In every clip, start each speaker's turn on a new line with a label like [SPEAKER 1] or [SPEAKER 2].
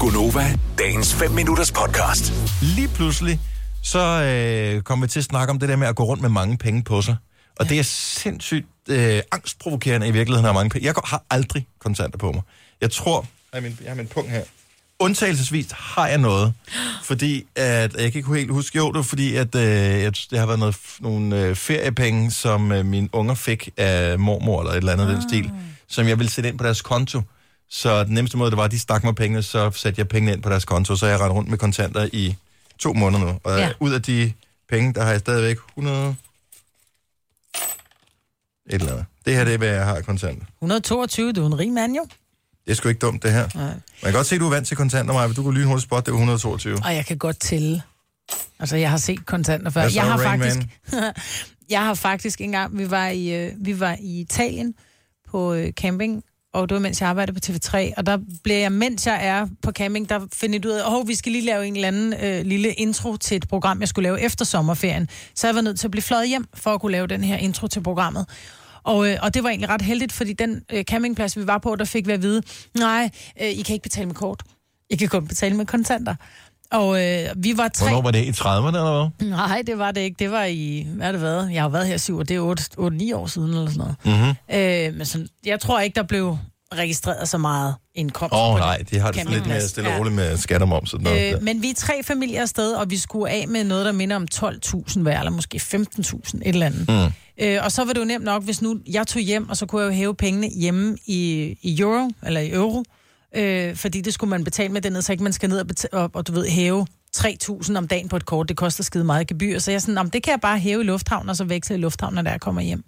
[SPEAKER 1] Gunova, dagens 5 minutters podcast.
[SPEAKER 2] lige pludselig, så øh, kommer vi til at snakke om det der med at gå rundt med mange penge på sig. Og ja. det er sindssygt øh, angstprovokerende i virkeligheden at have mange penge. Jeg går- har aldrig kontanter på mig. Jeg tror, jeg har min, jeg har min punkt her. Undtagelsesvis har jeg noget, fordi at, jeg kan ikke helt huske, jo, det var fordi, at øh, jeg, det har været noget, nogle øh, feriepenge, som øh, mine unger fik af mormor eller et eller andet ah. den stil, som jeg ville sætte ind på deres konto. Så den nemmeste måde, det var, at de stak mig pengene, så satte jeg pengene ind på deres konto, så jeg rendte rundt med kontanter i to måneder nu. Og ja.
[SPEAKER 3] Ja.
[SPEAKER 2] ud af de penge, der har jeg stadigvæk 100... Et eller andet. Det her, det er, hvad jeg har i kontanter.
[SPEAKER 3] 122, du er en rig mand jo.
[SPEAKER 2] Det er sgu ikke dumt, det her.
[SPEAKER 3] Nej.
[SPEAKER 2] Man kan godt se, at du er vant til kontanter, Maja, men du kunne lynhurtigt spotte, det var 122.
[SPEAKER 3] Og jeg kan godt tælle. Altså, jeg har set kontanter før.
[SPEAKER 2] Hvad så,
[SPEAKER 3] Jeg har,
[SPEAKER 2] Rain
[SPEAKER 3] faktisk, jeg har faktisk engang, vi var i, øh, vi var i Italien på øh, camping, og det var, mens jeg arbejdede på TV3, og der blev jeg, mens jeg er på camping, der finder jeg ud af, at oh, vi skal lige lave en eller anden øh, lille intro til et program, jeg skulle lave efter sommerferien. Så jeg var nødt til at blive fløjet hjem for at kunne lave den her intro til programmet. Og, øh, og det var egentlig ret heldigt, fordi den øh, campingplads, vi var på, der fik vi at vide, nej, øh, I kan ikke betale med kort. I kan kun betale med kontanter. Og øh, vi var tre...
[SPEAKER 2] Hvornår var det? I 30'erne eller hvad?
[SPEAKER 3] Nej, det var det ikke. Det var i, hvad har det været? Jeg har jo været her syv, og det er 8-9 år siden eller sådan noget. Mm-hmm. Øh, men sådan, jeg tror ikke, der blev registreret så meget indkomst.
[SPEAKER 2] Åh
[SPEAKER 3] på
[SPEAKER 2] oh,
[SPEAKER 3] det.
[SPEAKER 2] nej, de har det sådan lidt mere
[SPEAKER 3] Campingplads,
[SPEAKER 2] stille
[SPEAKER 3] ja.
[SPEAKER 2] og roligt med skat og moms. og sådan noget.
[SPEAKER 3] Øh, men vi er tre familier afsted, og vi skulle af med noget, der minder om 12.000 hver, eller måske 15.000, et eller andet. Mm. Øh, og så var det jo nemt nok, hvis nu jeg tog hjem, og så kunne jeg jo hæve pengene hjemme i, i euro, eller i euro, øh, fordi det skulle man betale med dernede, så ikke man skal ned og, beta- og, og du ved, hæve 3.000 om dagen på et kort, det koster skide meget i gebyr. Så jeg er sådan, "Nå, men det kan jeg bare hæve i lufthavn, og så veksle i lufthavn, når jeg kommer hjem.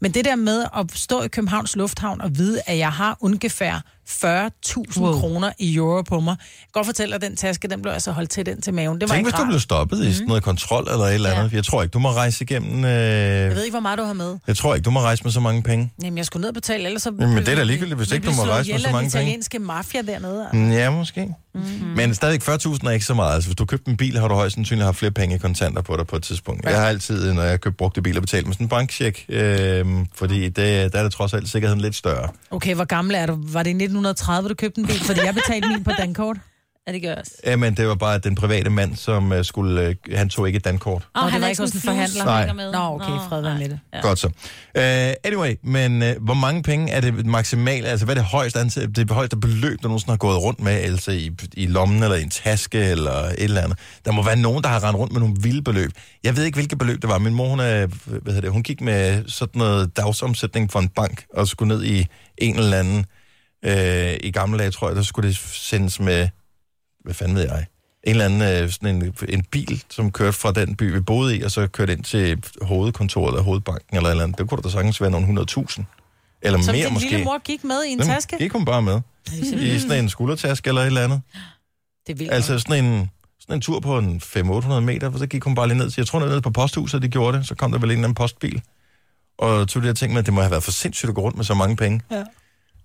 [SPEAKER 3] Men det der med at stå i Københavns Lufthavn og vide, at jeg har ungefær 40.000 wow. kroner i euro på mig. Jeg kan godt fortælle, at den taske, den blev altså holdt tæt ind til maven. Det var
[SPEAKER 2] Tænk,
[SPEAKER 3] ikke
[SPEAKER 2] hvis du
[SPEAKER 3] rart.
[SPEAKER 2] blev stoppet i sådan noget kontrol eller et eller
[SPEAKER 3] Ja.
[SPEAKER 2] andet. Jeg tror ikke, du må rejse igennem...
[SPEAKER 3] Jeg
[SPEAKER 2] Øh...
[SPEAKER 3] ved ikke, hvor meget du har med.
[SPEAKER 2] Jeg tror ikke, du må rejse med så mange penge.
[SPEAKER 3] Jamen, jeg skulle ned og betale, ellers så...
[SPEAKER 2] men det er da ligegyldigt, hvis
[SPEAKER 3] Vi
[SPEAKER 2] ikke
[SPEAKER 3] blev
[SPEAKER 2] du må
[SPEAKER 3] slået
[SPEAKER 2] rejse med
[SPEAKER 3] ihjel
[SPEAKER 2] så
[SPEAKER 3] af den
[SPEAKER 2] mange penge.
[SPEAKER 3] italienske mafia dernede.
[SPEAKER 2] Mm, Ja, måske. Mm-hmm. Men stadigvæk 40.000 er ikke så meget. Altså, hvis du købte en bil, har du højst sandsynligt haft flere penge i kontanter på dig på et tidspunkt. Ja. Jeg har altid, når jeg køber brugte biler, betalt med sådan en bankcheck, øh, fordi det, der er det trods alt sikkerheden lidt større.
[SPEAKER 3] Okay, hvor gammel er du? Var det i 1930, du købte en bil? Fordi jeg betalte min på Dankort.
[SPEAKER 4] Ja, det gør jeg også.
[SPEAKER 2] Ja, men det var bare den private mand, som øh, skulle, øh, han tog ikke et dankort.
[SPEAKER 3] Nå,
[SPEAKER 4] Og
[SPEAKER 3] det
[SPEAKER 4] han
[SPEAKER 3] var
[SPEAKER 4] er
[SPEAKER 3] ikke
[SPEAKER 4] ikke
[SPEAKER 3] hos en
[SPEAKER 4] sådan en forhandler.
[SPEAKER 2] Nej.
[SPEAKER 3] Nå, okay, fred være med det.
[SPEAKER 4] Ja.
[SPEAKER 2] Godt så. Uh, anyway, men uh, hvor mange penge er det maksimalt, altså hvad er det højeste, antal, det højeste beløb, du nogensinde har gået rundt med, altså i, i lommen eller i en taske eller et eller andet? Der må være nogen, der har rendt rundt med nogle vilde beløb. Jeg ved ikke, hvilket beløb det var. Min mor, hun, er, hvad hedder det, hun gik med sådan noget dagsomsætning for en bank og skulle ned i en eller anden, øh, i gamle dage, tror jeg, der skulle det sendes med, hvad fanden ved jeg, en eller anden øh, sådan en, en bil, som kørte fra den by, vi boede i, og så kørte ind til hovedkontoret eller hovedbanken eller et eller andet. Det kunne da sagtens være nogle 100.000. Eller
[SPEAKER 3] Som
[SPEAKER 2] mere
[SPEAKER 3] din
[SPEAKER 2] måske.
[SPEAKER 3] lille mor gik med i en
[SPEAKER 2] Dem
[SPEAKER 3] taske.
[SPEAKER 2] Gik hun bare med. I sådan en skuldertaske eller et eller andet.
[SPEAKER 3] Det er vildt. Altså,
[SPEAKER 2] Altså sådan en, sådan en tur på en 500-800 meter, og så gik hun bare lige ned til, jeg tror, det var nede på posthuset, de gjorde det. Så kom der vel en eller anden postbil. Og tog det her ting med, at det må have været for sindssygt at gå rundt med så mange penge.
[SPEAKER 3] Ja.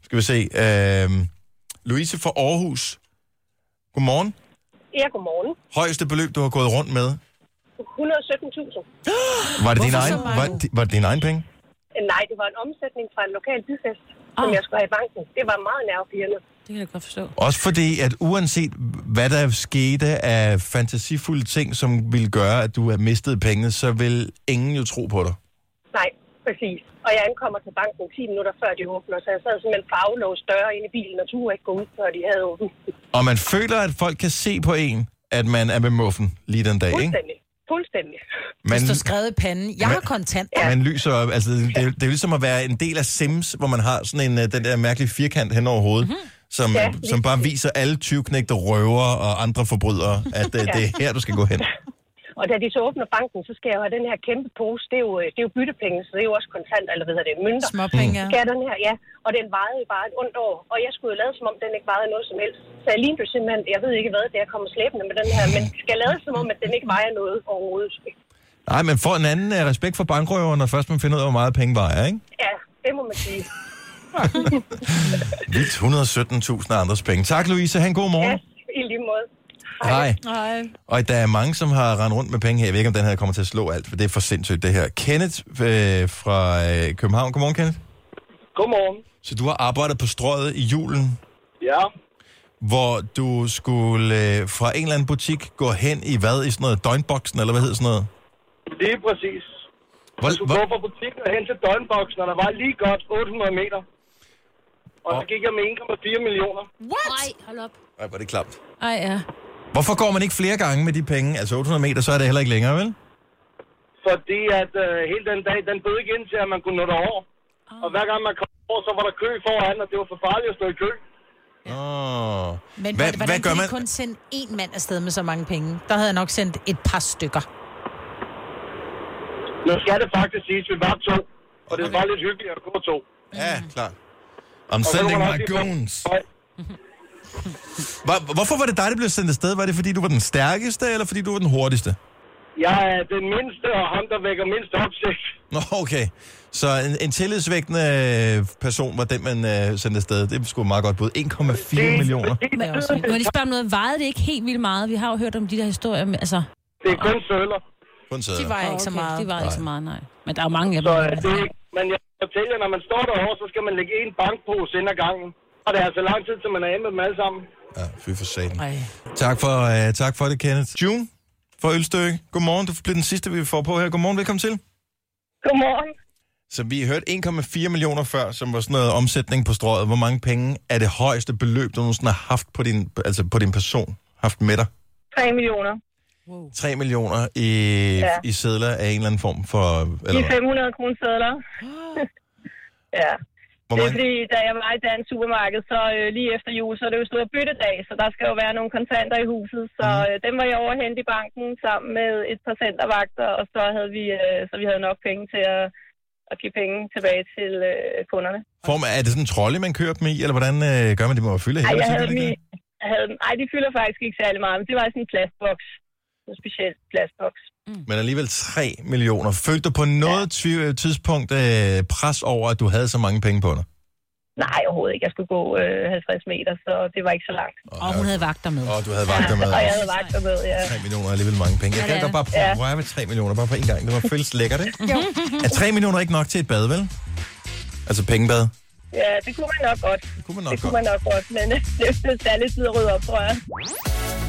[SPEAKER 2] Skal vi se. Øh, Louise fra Aarhus. Godmorgen.
[SPEAKER 5] Ja, godmorgen.
[SPEAKER 2] Højeste beløb, du har gået rundt med.
[SPEAKER 5] 117.000.
[SPEAKER 2] Var det, din
[SPEAKER 3] Hvorfor så
[SPEAKER 2] egen,
[SPEAKER 3] mange?
[SPEAKER 2] var, det- var det din egen penge?
[SPEAKER 5] Øh, Nej, det var en omsætning fra en lokal byfest, som
[SPEAKER 4] Ah.
[SPEAKER 5] jeg skulle have i banken. Det var meget nervepirrende.
[SPEAKER 4] Det kan jeg godt forstå.
[SPEAKER 2] Også fordi, at uanset hvad der skete af fantasifulde ting, som ville gøre, at du havde mistet pengene, så vil ingen jo tro på dig.
[SPEAKER 5] Nej, præcis. Og jeg ankommer til banken 10 minutter før de åbner, så jeg sad simpelthen farvelås døre inde i bilen og turde ikke gå ud, før de havde åbent.
[SPEAKER 2] Og man føler, at folk kan se på en, at man er med muffen lige den dag, ikke?
[SPEAKER 5] Fuldstændig. Fuldstændig.
[SPEAKER 2] Man,
[SPEAKER 3] det står skrevet i panden. Jeg har kontanter.
[SPEAKER 2] man lyser op. Altså, det, det, er jo- det er jo ligesom at være en del af Sims, hvor man har sådan en, øh, den der mærkelige firkant hen over hovedet, mm-hmm. som,
[SPEAKER 5] Ja,
[SPEAKER 2] ja, som bare viser alle tyvknægte røver og andre forbrydere, at ja. det er her, du skal gå hen.
[SPEAKER 5] Og da de så åbner banken, så skal jeg jo have den her kæmpe pose. Det er jo, øh, det er jo byttepenge, så det er jo også kontant, eller hvad hedder det, mønter.
[SPEAKER 3] Småpenge.
[SPEAKER 2] Mm.
[SPEAKER 5] Skal jeg den her, ja. Og den vejede jo bare et ondt år. Og jeg skulle jo lade, som om den ikke vejede noget som helst. Så jeg lignede jo simpelthen, jeg ved ikke hvad, det er, jeg kommer slæbende med den her, men skal lade, som om at den ikke vejer noget overhovedet.
[SPEAKER 2] Nej, men får en anden uh, respekt for bankrøveren, når først man finder ud af, hvor meget penge vejer, ikke?
[SPEAKER 5] Ja, det må man sige.
[SPEAKER 2] Vildt 117.000 af andres penge. Tak, Louise. Ha' en god
[SPEAKER 5] Ja,
[SPEAKER 2] morgen.
[SPEAKER 5] i lige måde.
[SPEAKER 2] Ja. Hej.
[SPEAKER 3] Nej.
[SPEAKER 2] Og der er mange, som har rendt rundt med penge her. Jeg ved ikke, om den her kommer til at slå alt, for det er for sindssygt, det her. Kenneth øh, fra øh, København. Godmorgen, Kenneth.
[SPEAKER 6] Godmorgen.
[SPEAKER 2] Så du har arbejdet på strøget i julen.
[SPEAKER 6] Ja,
[SPEAKER 2] hvor du skulle øh, fra en eller anden butik gå hen i hvad? I sådan noget døgnboksen, eller hvad hedder sådan noget?
[SPEAKER 4] Det er præcis. Jeg
[SPEAKER 2] Hvor,
[SPEAKER 4] skulle gå
[SPEAKER 2] hvor,
[SPEAKER 4] fra butikken og hen til døgnboksen, og der var lige godt 800 meter. Og så gik jeg med 1,4 millioner.
[SPEAKER 3] What?
[SPEAKER 6] Nej, hold op.
[SPEAKER 2] ej, hvor er det klamt.
[SPEAKER 3] Ej, ja.
[SPEAKER 2] Hvorfor går man ikke flere gange med de penge? Altså 800 meter, så er det heller ikke længere, vel?
[SPEAKER 4] Fordi at øh, hele den dag, den bød ikke ind til, at man kunne nå derover. Og hver gang man kom over, så var der kø foran, og det var for farligt at stå i kø.
[SPEAKER 2] Åh.
[SPEAKER 3] Men
[SPEAKER 2] Hvad,
[SPEAKER 3] hvad, hvordan
[SPEAKER 2] hvad gør
[SPEAKER 3] kan
[SPEAKER 2] man?
[SPEAKER 3] man? kun sende én mand afsted med så mange penge? Der havde jeg nok sendt et par stykker.
[SPEAKER 4] Nu skal det faktisk siges, vi var to. Og det var lidt hyggeligt at gå to.
[SPEAKER 2] Ja, klar. I'm
[SPEAKER 4] Og så
[SPEAKER 2] sending
[SPEAKER 4] var
[SPEAKER 2] my
[SPEAKER 4] der også lige-
[SPEAKER 2] goons.
[SPEAKER 4] Nej,
[SPEAKER 2] Hvor, hvorfor var det dig, der blev sendt afsted? Var det, fordi du var den stærkeste, eller fordi du var den hurtigste?
[SPEAKER 4] Jeg er den mindste, og ham, der vækker mindst opsigt.
[SPEAKER 2] Nå, okay. Så en, en tillidsvækkende øh, person var den, man øh, sendte afsted. Det skulle meget godt bud. 1,4 millioner.
[SPEAKER 6] Må jeg også lige- må jeg lige spørge om noget? Vejede det ikke helt vildt meget? Vi har jo hørt om de der historier med, altså...
[SPEAKER 4] Det er kun søller.
[SPEAKER 2] Kun sæder.
[SPEAKER 3] De var ikke så meget.
[SPEAKER 6] Det var ikke så meget, nej. Men der er jo mange af dem.
[SPEAKER 4] Så øh, det, er- men jeg fortæller, når man står derovre, så skal man lægge en bankpose ind ad gangen. Og det er altså lang tid, til man er af med dem alle sammen.
[SPEAKER 2] Ja, fy for satan.
[SPEAKER 3] Ej.
[SPEAKER 2] Tak for, øh, tak for det, Kenneth. June fra Ølstykke. Godmorgen. Du bliver den sidste, vi får på her. Godmorgen. Velkommen til.
[SPEAKER 5] Godmorgen.
[SPEAKER 2] Så vi har hørt 1,4 millioner før, som var sådan noget omsætning på strøget. Hvor mange penge er det højeste beløb, du nogensinde har haft på din, altså på din person? Haft med dig?
[SPEAKER 5] 3 millioner.
[SPEAKER 2] 3 millioner i, ja. i sædler af en eller anden form for... Eller,
[SPEAKER 5] De
[SPEAKER 2] hvad?
[SPEAKER 5] 500 kroner sædler. ja.
[SPEAKER 2] hvor
[SPEAKER 5] Det er
[SPEAKER 2] mange?
[SPEAKER 5] fordi, da jeg var i dansk supermarked, så øh, lige efter jul, så er det jo stor byttedag, så der skal jo være nogle kontanter i huset. Så
[SPEAKER 2] Mhm.
[SPEAKER 5] øh, dem var jeg overhentet i banken sammen med et par centervagter, og så havde vi, øh, så vi havde nok penge til at, at give penge tilbage til øh, kunderne.
[SPEAKER 2] Form, er det sådan en trolle, man kører dem i, eller hvordan øh, gør man det? Man må fylde
[SPEAKER 5] Ej,
[SPEAKER 2] hænder,
[SPEAKER 5] jeg havde
[SPEAKER 2] sikkert,
[SPEAKER 5] dem i,
[SPEAKER 2] ikke det?
[SPEAKER 5] jeg havde, dem- ej, de fylder faktisk ikke særlig meget, men det var i sådan en plastboks. En speciel plastboks.
[SPEAKER 2] Men alligevel 3 millioner. Følte du på noget ja. tidspunkt øh, pres over, at du havde så mange penge på dig?
[SPEAKER 5] Nej, overhovedet ikke. Jeg skulle gå øh, 50 meter, så det var ikke så langt.
[SPEAKER 6] Og hun havde vagter med.
[SPEAKER 2] Åh, du havde vagter med.
[SPEAKER 5] Og jeg havde vagter med, ja.
[SPEAKER 2] 3 millioner er alligevel mange penge. Jeg
[SPEAKER 6] Ja,
[SPEAKER 2] kan
[SPEAKER 6] det
[SPEAKER 2] godt
[SPEAKER 6] er
[SPEAKER 2] bare prøve at røre med 3 millioner, bare på en gang. Det var føles lækkert, ikke? Jo. Er 3 millioner ikke nok til et bad, vel? Altså pengebad?
[SPEAKER 5] Ja, det kunne man nok godt.
[SPEAKER 2] Det kunne man nok
[SPEAKER 5] Det kunne
[SPEAKER 2] godt.
[SPEAKER 5] man nok godt, men det er lidt tid at rydde op, tror jeg.